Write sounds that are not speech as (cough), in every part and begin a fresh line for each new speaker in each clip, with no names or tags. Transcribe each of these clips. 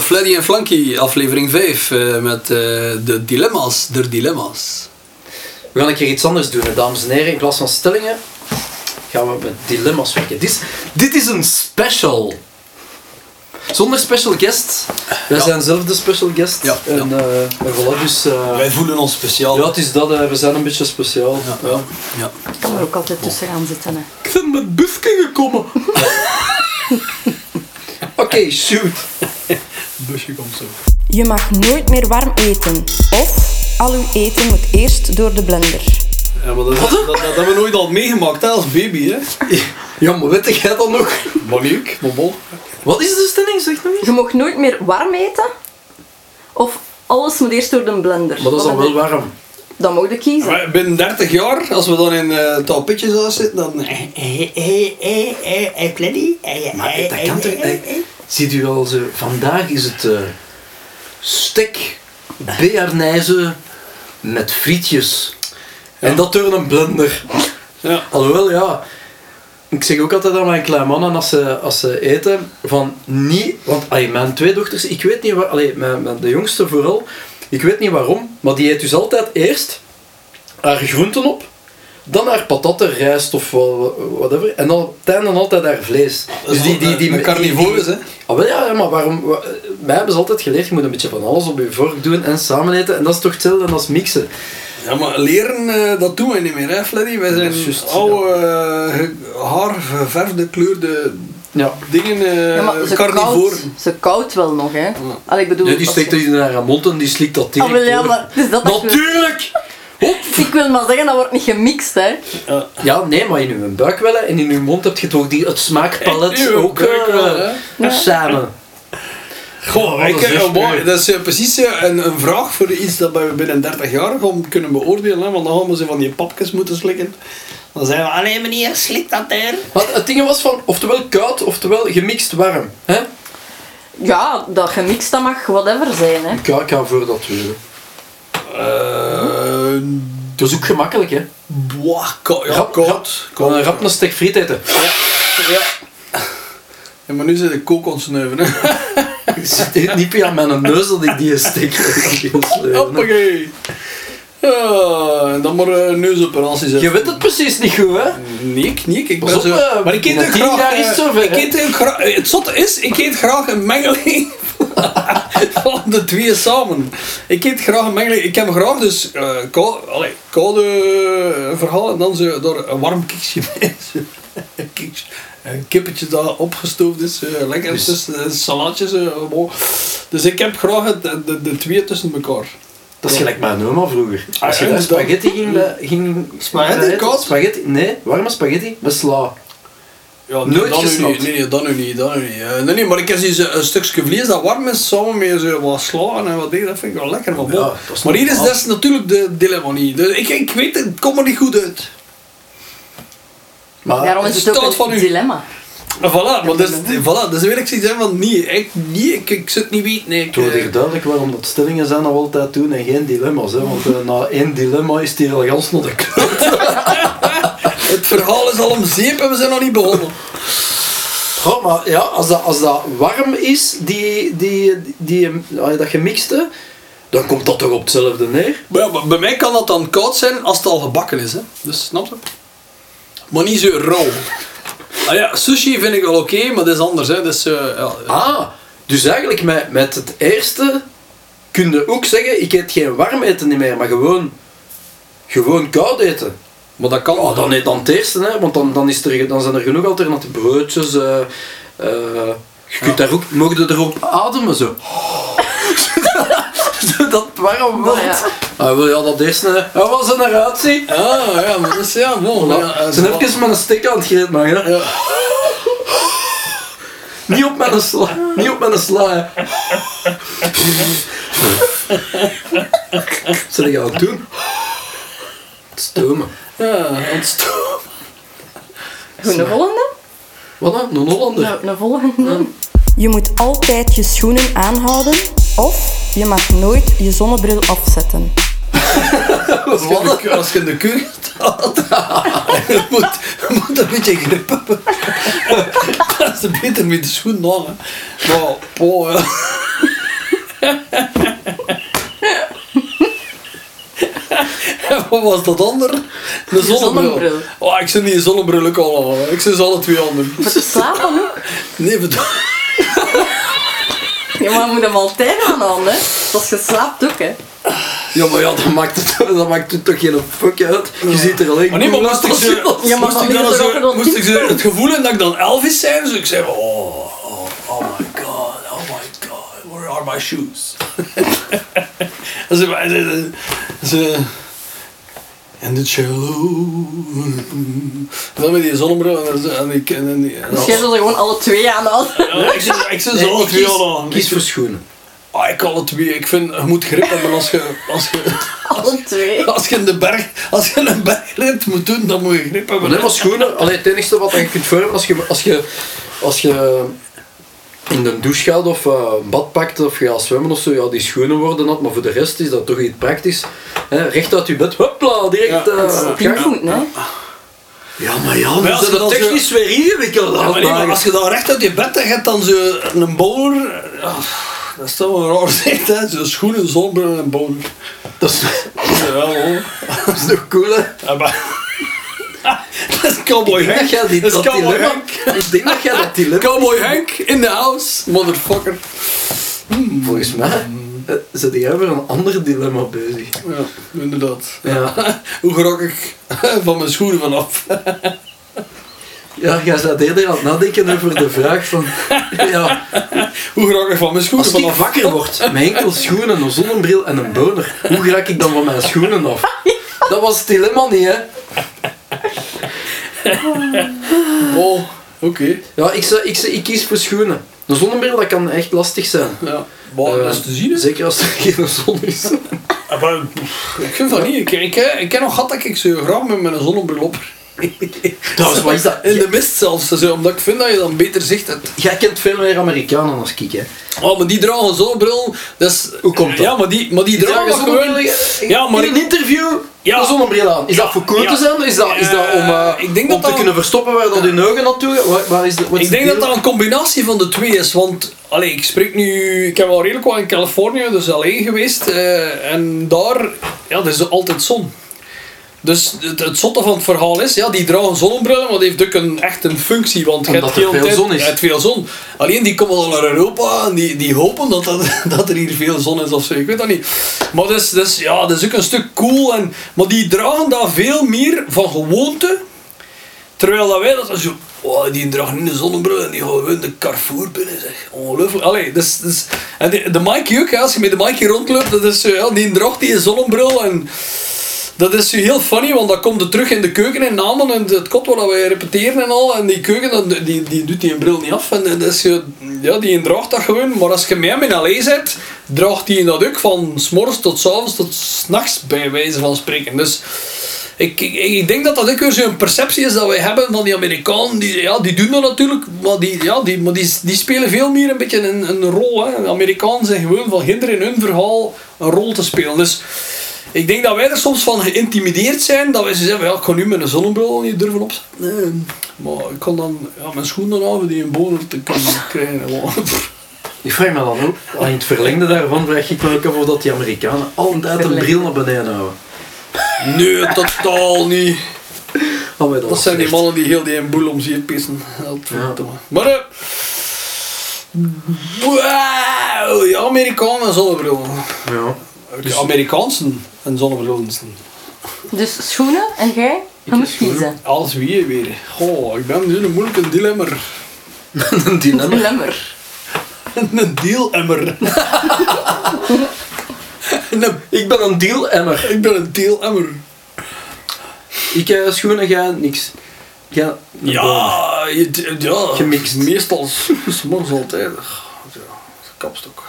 Fleddy en Flanky, aflevering 5, eh, met eh, de dilemma's der dilemma's.
We gaan een keer iets anders doen, hè, dames en heren. In plaats van stellingen gaan we met dilemma's werken. Dit is, dit is een special. Zonder special guest. Wij
Ja.
zijn zelf de special guest.
Ja, ja.
En, eh, en voilà, dus... eh,
Wij voelen ons speciaal.
ja, het is dat. eh, we zijn een beetje speciaal. Ja.
Ja.
Ik kan er ook altijd tussen gaan zitten. Hè.
Ik ben met busken
(laughs)
gekomen. Oké, shoot.
Busje komt zo.
Je mag nooit meer warm eten. Of al uw eten moet eerst door de blender.
Ja, maar dat, dat, dat, dat hebben we nooit al meegemaakt, hè, als baby, hè.
Ja, maar weet jij dat nog?
Maar leuk, maar bon.
Wat is de stelling? Zeg nog eens.
Je mag nooit meer warm eten. Of alles moet eerst door de blender.
Maar dat is
Wat
dan wel
heb je-
warm.
Dan mag je kiezen.
Maar binnen 30 jaar, als we dan in eh tapetje zouden zitten, dan...
Eh, Maar dat kan toch niet? Ziet u al zo, vandaag is het eh, stek bearnijzen met frietjes. En dat door een blender.
Ja.
Alhoewel, ja. Ik zeg ook altijd aan mijn kleine mannen als ze, als ze eten, van niet... Want allee, mijn twee dochters, ik weet niet waar... Allee, mijn, mijn- de jongste vooral, ik weet niet waarom, maar die eet dus altijd eerst haar groenten op, dan haar patatten, rijst of wa- whatever, en dan op het einde altijd haar vlees. Dus
Dat is altijd een carnivorus, hè?
Ah, wel, ja, ja, maar waarom... wa- Mij hebben ze altijd geleerd, je moet een beetje van alles op je vork doen en samen eten, en dat is toch hetzelfde als mixen.
Ja, maar leren, eh, dat doen wij niet meer, hè, Fleddy. Wij
Dat
zijn
is juist, ja.
oude, eh, haar, verfde, kleurde
Ja.
dingen, eh
Ja, maar ze,
carnivoren.
koudt, ze koudt wel nog, hè. Allee, ik bedoel...
Nee, die
als
steekt
je-
dat in haar mond en die slikt dat
Ah,
direct
wel, ja,
door.
maar het is dat dat ik wil-
Natuurlijk!
ik wil maar zeggen, dat wordt niet gemixt, hè.
Ja, nee, maar in uw buik wel hè. en in uw mond heb je toch die, het smaakpalet
In uw
ook
buik
eh,
wel, hè.
Ja.
samen.
Goh,
Wat
ik,
is
ja,
dit?
mooi. dat is eh, precies eh, een, een vraag voor iets dat we binnen 30 jaar gaan kunnen beoordelen. Hè, want dan gaan we ze van die papjes moeten slikken. Dan zijn we, alleen meneer, slik dat er.
Maar het ding was van, oftewel koud, oftewel gemixt warm. Hè?
Ja, dat gemixt, dat mag whatever zijn, hè.
Ik ga- ik ga voor dat weer.
Eh,
Dat is ook gemakkelijk, hè?
boah, ko- ja,
Rap,
koud.
Gewoon een rap een stek friet eten.
Ja. Ja, maar nu zit ik kook ontsneuven, (laughs) hè.
Ik zit hier niet via mijn neus dat ik die (laughs) stek
Oh
friet
Hoppakee. Ja, en dan maar eh, neusoperaties. hè.
Je weet het precies niet goed, hè?
Nee, ik niet. Ik ben
Pas op,
zo...
eh,
maar ik eet
na
ook
tien
graag...
jaar
eh,
is het zover,
ik
hè?
eet ook graag... Het zotte is, ik eet graag een mengeling (laughs) van de twee samen. Ik eet graag een mengeling. Ik heb graag dus eh kou, allee, koude eh, verhalen en dan zo door een warm kiksje (laughs) bij. Zo, een kiksje- Een kippetje dat opgestoofd is, eh, lekker
Dus-
tussen eh, salatjes. eh, wow. Dus ik heb graag het- de, de, de twee tussen elkaar.
Dat is gelijk mijn oma vroeger.
Ah,
Als je
ja,
daar
dus dan-
spaghetti ging... la- ging
Spaghetti,
eten,
koud?
Spaghetti, nee, warme spaghetti met sla.
Ja,
Nooit
nee, dan nu
gesnapt.
niet. Nee, nee, dan nu niet. Dan nu niet. Eh, nee, nee, maar ik heb hier zo een stukje vlees dat warm is, samen met zo wat sla en wat dingen. Dat vind ik wel lekker. Maar, bon.
Ja, dat is
maar hier is
normaal.
dat is natuurlijk de dilemma niet. Dus ik, ik weet het, het komt er niet goed uit.
Maar
Daarom is
het
het ook
Ah, staat
een
van u.
dilemma.
En voilà, maar dus, voilà, dus wil ik zoiets hebben van nee, ik, nee, ik, ik zou het niet weten. Nee, ik,
Het wordt
eh,
hier duidelijk waarom dat stellingen zijn dat we altijd doen en geen dilemma's. Hè? Want eh, na één dilemma is het hier al gans naar de kant.
(laughs) het verhaal is al om zeep en we zijn nog niet begonnen.
Goh, maar ja, als dat, als dat warm is, die, die, die, ah, dat gemixte, dan komt dat toch op hetzelfde neer?
Maar ja, maar bij mij kan dat dan koud zijn als het al gebakken is. Hè. Dus snap je? Maar niet zo rauw. Ah ja, sushi vind ik wel oké, maar dat is anders. Hè. Dus, eh, ja,
Ah, dus eigenlijk met, met het eerste kun je ook zeggen, ik eet geen warm eten niet meer, maar gewoon, gewoon koud eten.
Maar dat kan.
Oh, dan eet dan het eerste, hè, want dan, dan, is er, dan zijn er genoeg alternatieve broodjes. eh, eh, je kunt daar ook, mocht je erop ademen zo. dat warm wordt.
Maar ja.
Ah, wil je al dat eerste? hè? Ah, wat ze eruit zien?
Ah, ja, maar dat is ja, bon. Ja, eh,
Ze zijn
zo-
even met een stik aan het geven, maar hè.
Ja.
niet op mijn sla. Niet op mijn sla. hè.
(laughs)
Wat Zal ik aan het doen? Het Stomen.
Ja, ontstoken.
Goed, een volgende?
Wat dan? Een Hollander?
Een, een volgende?
Je moet altijd je schoenen aanhouden. Of je mag nooit je zonnebril afzetten.
(laughs) Als je in de keur- als je in de keur staat, (laughs) je moet, je moet een beetje grip (laughs) hebben. Dat is beter met de schoen aan. hè. Maar, boah, ja. (laughs) En Wat was dat ander? De zonnebril.
zonnebril.
Oh, ik zie die zonnebril ook allemaal. Ik zie ze alle twee anderen.
Maar te slapen ook.
Nee, bedoel...
Ja, maar je moet hem altijd aan hè. Zoals je slaapt ook, hè.
Ja, maar ja, dat maakt het, (laughs) dat maakt het toch geen fuck uit. Je ziet er alleen
Maar nee, maar
cool
moest ik
uit als je
ze,
dat
Ja, maar
moest ik
wanneer
dan
is er
zo-
ook nog
moest ik
iets?
ze het gevoel hebben dat ik dan Elvis zijn? Dus ik zei, van, oh, oh, oh my god, oh my god, where are my shoes? (laughs) en ze, ze, ze, ze en de cello. Dan met die zonnebril en, er- en, ik, en, en, die- en
Dus
alles.
jij zult er gewoon alle twee aan houden.
Ja, ik zit- ik zit
Nee,
zo alle
ik
twee
kies,
al aan.
kies voor schoenen.
Ah, ik kan het twee. Ik vind, je moet grip hebben als je, als je,
(laughs) Alle twee.
als je in de berg, als je een bergrit moet doen, dan moet je grip hebben.
Maar nee, maar schoenen, allee, het enige wat je kunt vormen als je, als je, als je in de douche gaat of eh, een bad pakt of je gaat zwemmen of zo, ja, die schoenen worden nat, maar voor de rest is dat toch iets praktisch. Hè, recht uit je bed, hopla, direct.
Ja.
eh, op gang.
Pinkvoet, hè.
ja, maar ja,
Maar
dan
als
is
je
dat
dat zo-
technisch weer ingewikkeld.
Ja, maar nee, maar
laat
als je dan recht uit je bed gaat, dan zo een bowler. Ah, dat is toch wel een raar zicht, hè? Zo'n schoenen, zonnebril en een bowler.
maar. Dat is,
Ja, hoor.
dat (laughs) is toch cool, hè?
Ja, maar- (laughs) Dat is Cowboy
Ik denk
Henk.
dat jij die-
Dat is
dat
Cowboy
dilemma-
Henk.
Ik denk dat jij dat dilemma...
Cowboy Henk in the house, motherfucker.
Volgens mij eh, zit jij over een ander dilemma bezig.
Ja, inderdaad.
Ja,
(laughs) Hoe grok ik (laughs) van mijn schoenen vanaf? (laughs)
ja jij zat eerder aan het nadenken over de vraag van... Ja,
Hoe grok ik van mijn schoenen
Als ik
vanaf?
wakker word met enkel schoenen, een zonnebril en een boner, hoe raak ik dan van mijn schoenen af? Dat was het dilemma niet, hè?
Oh, oké.
Ja, ik, zou- ik, zou- ik kies voor schoenen. Een zonnebril, dat kan echt lastig zijn.
Ja. Wow, Oh, dat is
Eh,
te zien, hè?
Zeker als er geen zon is.
Ah, maar, pff, Ik vind van niet. Ik, ik, ik ken nog gehad dat ik zo graag met mijn zonnebril op.
Trouwens, wat is dat?
In de mist zelfs, zo, omdat ik vind dat je dan beter zicht hebt.
Jij kent veel meer Amerikanen als ik, hè?
Oh, maar die dragen zonnebril. Dat is,
Hoe komt dat?
Ja, maar die, maar die, dragen
een zonnebril
gewoon...
in-
Ja, maar
in een
ik-
interview
Ja.
een zonnebril aan. Is
Ja,
dat voor cool
ja.
te zijn? Is dat, is dat om, eh,
Eh, ik denk
om
dat
te
dat-
kunnen verstoppen waar dat hun ogen naartoe gaan? Waar, waar is de, wat is
Ik denk
de
dat dat een combinatie van de twee is, want allee, ik spreek nu, ik heb al redelijk wat in Californië, dus alleen geweest, eh, en daar, ja, er is altijd zon. Dus het, het zotte van het verhaal is, ja, die dragen zonnebrillen, maar dat heeft ook een, echt een functie, want je
Omdat
hebt
er
heel
veel
tijd-
zon is.
ja, het veel zon. Alleen die komen dan naar Europa en die, die hopen dat, dat, dat er hier veel zon is of zo, ik weet dat niet. Maar dat is, dat is, ja, dat is ook een stuk cool, en, maar die dragen daar veel meer van gewoonte. Terwijl dat wij dat zo, oh, die dragen in de zonnebril en die gaan gewoon de Carrefour binnen, zeg. Ongelooflijk. Allee, dus, dus, en de, de Mikey ook, hè, als je met de Mikey rondloopt, dat is zo, ja, die draagt die zonnebril en dat is zo heel funny, want dat komt er terug in de keuken in Namen en het kot waar wij repeteren en al. En die keuken, dat- die, die doet die een bril niet af en dat is zo, ja, die draagt dat gewoon. Maar als je met hem in L.A. zit, draagt die dat ook van s'morgens tot s'avonds tot s'nachts, bij wijze van spreken. Dus... Ik, ik, ik denk dat dat ook weer zo'n perceptie is dat wij hebben van die Amerikanen. Die, ja, die doen dat natuurlijk, maar, die, ja, die, maar die, die spelen veel meer een beetje een, een rol. Hè. De Amerikanen zijn gewoon van hinder in hun verhaal een rol te spelen. Dus ik denk dat wij er soms van geïntimideerd zijn. Dat wij zo zeggen, van, ja, ik ga nu met een zonnebril niet durven opzetten. Nee, maar ik kan dan ja, mijn schoenen aan die een boner te kunnen krijgen. Maar-
Ik vraag me dan ook, aan het verlengde daarvan vraag ik me ook af of dat die Amerikanen altijd een
Verlengde.
bril naar beneden houden.
Nee, totaal niet.
Oh, maar
Dat
was
zijn die
slecht.
mannen die heel die een boel om zich pissen. Godverdomme. Maar eh, wauw, ja, Amerikanen en zonnebrillen.
Ja.
Dus Amerikaansen en zonnebrillen.
Dus schoenen en jij, je moet kiezen.
Als wie weer. Goh, ik ben nu een moeilijke dilemmer.
een dilemma.
Lemmer.
een dealemmer. nee,
Ik ben een deal-emmer.
ik ben een dealemmer.
Ik eh schoenen, jij niks. Jij een boner.
Ja, je, d- ja,
Gemixt.
Meestal, s'morgens altijd. Ja, kapstok.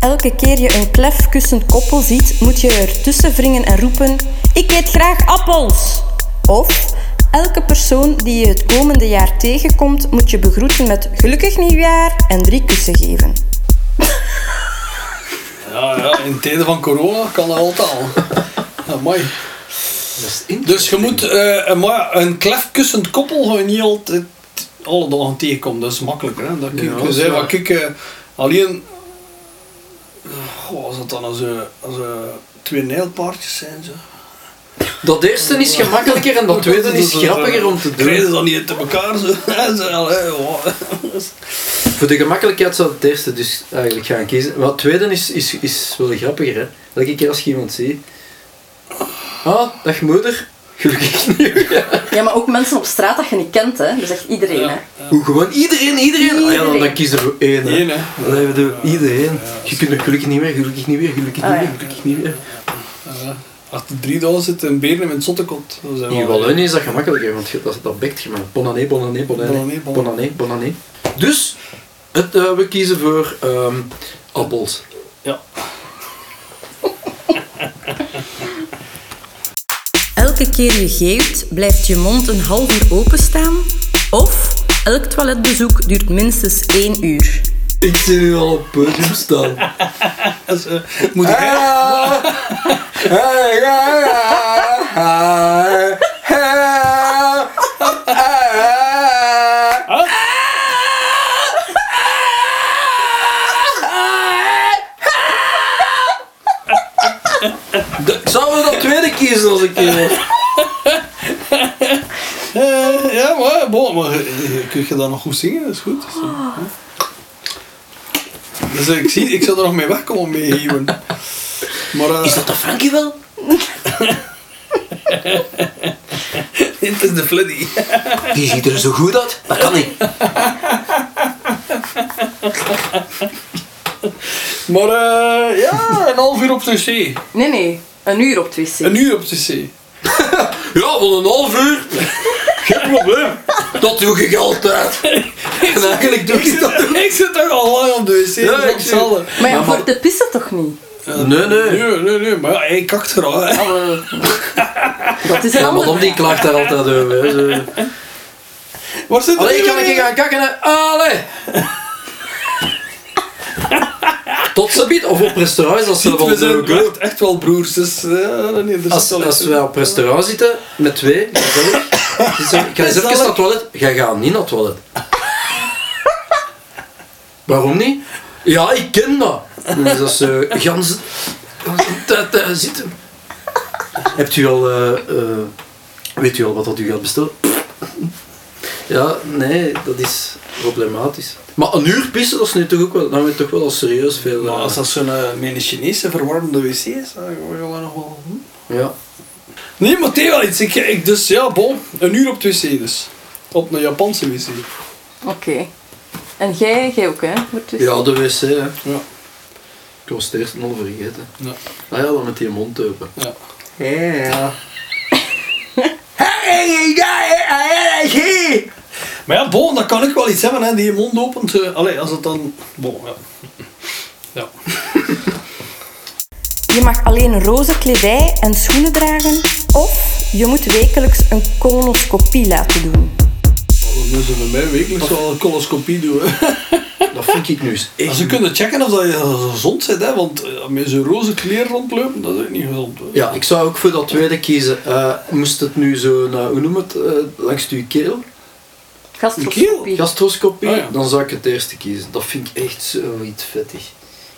Elke keer je een klefkussend koppel ziet, moet je ertussen wringen en roepen: Ik eet graag appels! Of elke persoon die je het komende jaar tegenkomt, moet je begroeten met gelukkig nieuwjaar en drie kussen geven.
Ja, ja, in tijden van corona kan dat
(laughs)
altijd. mooi.
Dat is in-
Dus je moet eh, maar een klefkussend koppel ga je niet altijd alle dagen tegenkomt. Dat is makkelijker. Hè? Dat ik,
Ja,
ik
dat is
zei
waar.
van, kijk, eh, alleen... eh, Goh, als dat dan als, eh, als eh, twee nijlpaardjes zijn, zo.
Dat eerste is gemakkelijker en (laughs) dat tweede is dus, eh, grappiger om te
Rijden Dus, eh, ze
doen.
dan niet uit elkaar, zo. (laughs) hè, zo, allee, (laughs) wow.
Voor de gemakkelijkheid zou ik het eerste dus eigenlijk gaan kiezen. Maar het tweede is, is, is wel grappiger, hè. Elke keer als je iemand ziet. Ah, dag moeder. Gelukkig niet.
Ja, maar ook mensen op straat dat je niet kent, hè. Dus echt iedereen, hè.
Hoe gewoon iedereen, iedereen. Ah ja, dan,
Iedereen.
dan kiezen we één. Hè.
Eén, hè.
Allee, we doen iedereen. Je kunt er gelukkig niet meer, gelukkig niet meer, gelukkig
Ah,
niet
ja.
meer, gelukkig niet meer.
Ja. Achter drie dagen zit een beer met een zotte kont. Dat zijn
In
wel-
Wallonië is dat gemakkelijker, want je- dat, dat bekt je maar. Bonané, bonané, bonané.
Bonané, bonané.
bonané, bonané. Dus, het, eh, we kiezen voor ehm appels.
Ja.
Elke keer je geeft, blijft je mond een half uur openstaan? Of elk toiletbezoek duurt minstens één uur?
Ik zie nu al op het podium staan.
(laughs) Dat is, eh, moet ik
Ah,
hè?
De- Zouden we dat tweede kiezen als ik hier was?
Eh, ja, maar, bon, maar eh, eh, kun je dat nog goed zingen? Dat is goed. Dus, eh,
Ah.
hè. dus eh, ik, zie, ik zou er nog mee wegkomen mee geven. Maar eh,
Is dat de Frankie wel?
dit is de Fleddy.
Die ziet er zo goed uit. Dat kan niet.
Maar eh, ja, een half uur op de wc.
Nee, nee. Een uur op het wc.
Een uur op de wc.
Ja, wel een half uur. Geen probleem. Dat doe ik altijd. En eigenlijk doe ik dat
Ik zit toch al lang op de wc.
Ja,
dat is
ik
hetzelfde.
Maar ja,
Maar-
voor te pissen toch niet?
Nee, nee.
Nee, nee, nee, maar ja, hij kakt er al. Hè.
Ah, wel. Dat is een
Ja,
ander
madame die klaagt daar altijd over. hè, zo.
Waar zit
Allee,
er
ik kan
nu
een keer
weer?
gaan kakken, hè. Allee. Tot ze biedt. Of op restaurant, dat ze
We
wel zo
zijn echt, echt wel broers, dus eh, nee, er
Als,
zit wel
als
iets
wij op restaurant zitten, met twee, gezellig. Dus dan, ga eens even naar het toilet. Jij gaat niet naar het toilet. Waarom niet? Ja, ik ken dat. Dus dat ze gans gans de tijd eh, zitten. Hebt u al, eh, eh, weet u al wat dat u gaat bestellen? Ja, nee, dat is problematisch. Maar een uur pissen, dat is nu toch ook wel, dan weet je toch wel al serieus veel.
Maar
eh,
als dat zo'n uh, mijn Chinese verwarmde wc is, dan word je wel nog wel... hm?
ja.
Nee, maar tegen wel iets. Ik, ik, dus ja, bon. Een uur op de wc dus. Op een Japanse wc.
Oké. En jij, jij ook, hè? Voor het wc.
ja, de wc, hè.
Ja.
Ik was het eerst nog vergeten.
Ja.
Ah ja, dan met die mond
(laughs)
open.
ja.
Ja.
Maar ja, bon, dat kan ik wel iets hebben, hè. Die mond opent. eh, allee, als het dan... Bon, ja. Ja.
Je mag alleen roze kledij en schoenen dragen? Of je moet wekelijks een colonoscopie laten doen?
Oh, Dan moeten we mij wekelijks wel een coloscopie doen, hè.
Dat vind ik nu eens echt.
Maar Ze kunnen checken of dat je gezond bent, hè. Want eh, met zo'n roze kleer rondlopen, dat is ook niet gezond, hè.
Ja, ik zou ook voor dat tweede kiezen. Eh, moest het nu zo'n, eh, hoe noem het, eh, langs je keel,
Gastroscopie.
gastroscopie,
Ah, ja.
dan zou ik het eerste kiezen. Dat vind ik echt zoiets vettig.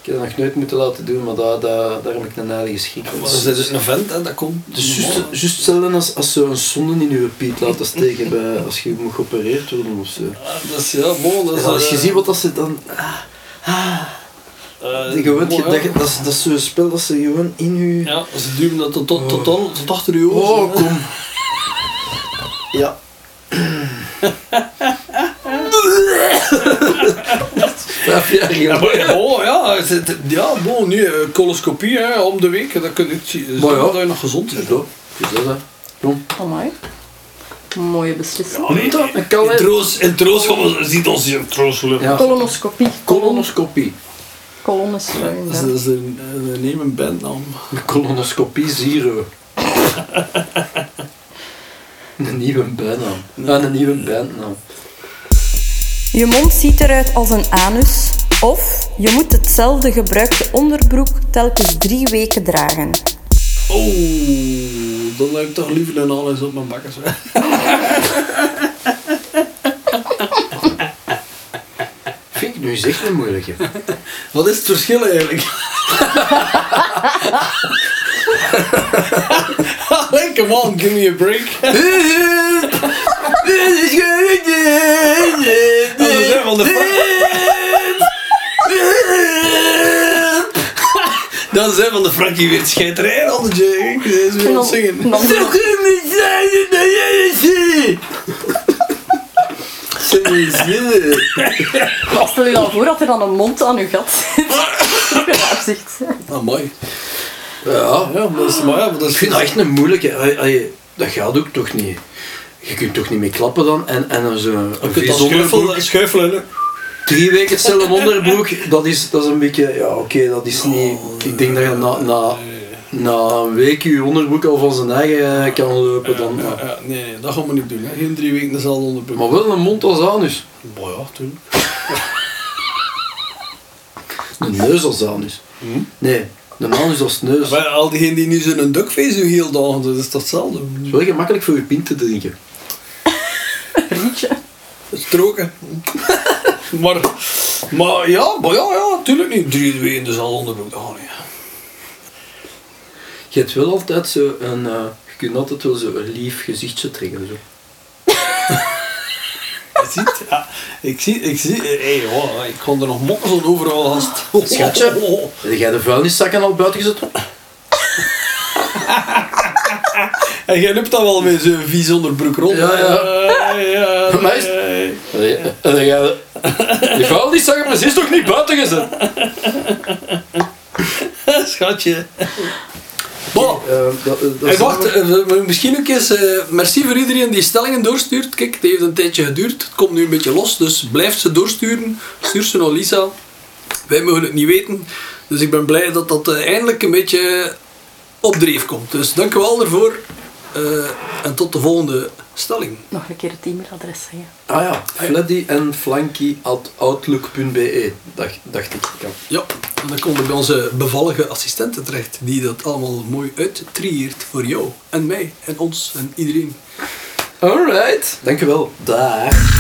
Ik heb dat nog nooit moeten laten doen, maar daar, daar, daar heb ik een heilige schrik van.
Maar dat is dus een vent, hè. Dat komt...
Het is juist- juist hetzelfde als, als zo'n zonde in je piet laten steken bij, als je moet geopereerd worden of zo.
Ja, Dat is, ja, bon, dat is...
Ja, als je
eh,
ziet wat dat ze dan...
eh,
Die gewoon,
bon,
je-
ja.
dat, je- dat, is- dat is zo'n spel dat ze gewoon in je...
Ja, ze duwen dat tot, tot, tot, tot, tot achter uw ogen.
Oh, kom.
(laughs)
Ja. Vijf jaar
Ja,
geleden.
maar, ja, oh ja, het- het- ja bon, nu eh, coloscopie hè, om de week, dat kun je niet zien. Dus
Maar ja.
dat je nog gezond bent.
Zo, dus dat hè. Kom.
Amai. Mooie beslissing.
Moet dat? Een
In
kalender.
troost, in troost gaan we- ziet ons hier in troost lopen.
Ja.
Colonoscopie.
Colonoscopie.
Colonnes.
Dat is, dat is een, een nemen bandnaam.
De colonoscopie zero. (laughs) Een nieuwe bijnaam. Ah, een nieuwe bandnaam.
Je mond ziet eruit als een anus. Of je moet hetzelfde gebruikte onderbroek telkens drie weken dragen.
Oh, dan heb ik toch liever dan alles op mijn bakkers. hè.
Nu is echt een moeilijke.
Wat is het verschil eigenlijk? (laughs) Allee, come on, give me a break. we zijn van de Dan zijn van de Frankie weer scheiterij al de Jake. Deze wil het zingen.
dan- Stel je dan voor dat er dan een mond aan je gat zit. Afzicht.
Ah, mooi.
Ja,
Ja, dat is maar ja, dat
ik
is
vind dat echt een moeilijke. Ai, ai, Dat gaat ook toch niet. Je kunt toch niet meer klappen dan en, en dan zo een
Je kunt
vis
dat
onderbroek.
schuifelen, schuifelen. hè.
Drie weken stil een onderbroek, dat is, dat is een beetje, ja oké, dat is niet... Ik denk dat je na, na, na een week je onderbroek al van zijn eigen eh, kan lopen dan.
Ja,
maar-
ja, nee, nee, dat gaan we niet doen. Hè. Geen drie weken, dat is al onderbroek.
Maar wel een mond als anus.
Boah, ja, tuurlijk.
Een neus als anus. Nee, een anus als neus.
Maar al diegenen die nu zo'n duckface doen heel dagen, dat is dat hetzelfde.
Het is wel gemakkelijk voor je pint te drinken.
Rietje.
Stroken. (laughs) maar, maar ja, maar ja, ja, tuurlijk niet. Drie weken, dus al onderbroek. Oh, nee.
Je hebt wel altijd zo een... eh, je kunt altijd wel zo een lief gezichtje trekken. Zo.
Je ziet, ja, ik zie, ik zie, hey, wow, ik kon er nog mokken overal aan stoel.
Schatje, heb jij de vuilniszakken al buiten gezet?
(laughs) En jij hebt dat wel met zo'n vies onderbroek rond.
Ja, ja.
Eh, ja,
(laughs)
(laughs)
Maar is-
eh,
Die vuilniszakken precies toch niet buiten gezet?
Schatje. Bon.
Eh, dat- dat
Hey,
is-
wacht, eh, we- misschien ook eens eh, merci voor iedereen die stellingen doorstuurt. Kijk, het heeft een tijdje geduurd. Het komt nu een beetje los, dus blijf ze doorsturen. Stuur ze naar Lisa. Wij mogen het niet weten. Dus ik ben blij dat dat eh, eindelijk een beetje op dreef komt. Dus dank u wel daarvoor. Eh, en tot de volgende stelling.
Nog een keer het e-mailadres zeggen.
Ah ja, fleddy en flanky at outlook.be, dacht, E, dacht ik. Ja.
Ja, en dan komen we bij onze bevallige assistenten terecht. Die dat allemaal mooi uittrieert voor jou en mij en ons en iedereen.
Alright, dankjewel. Dag.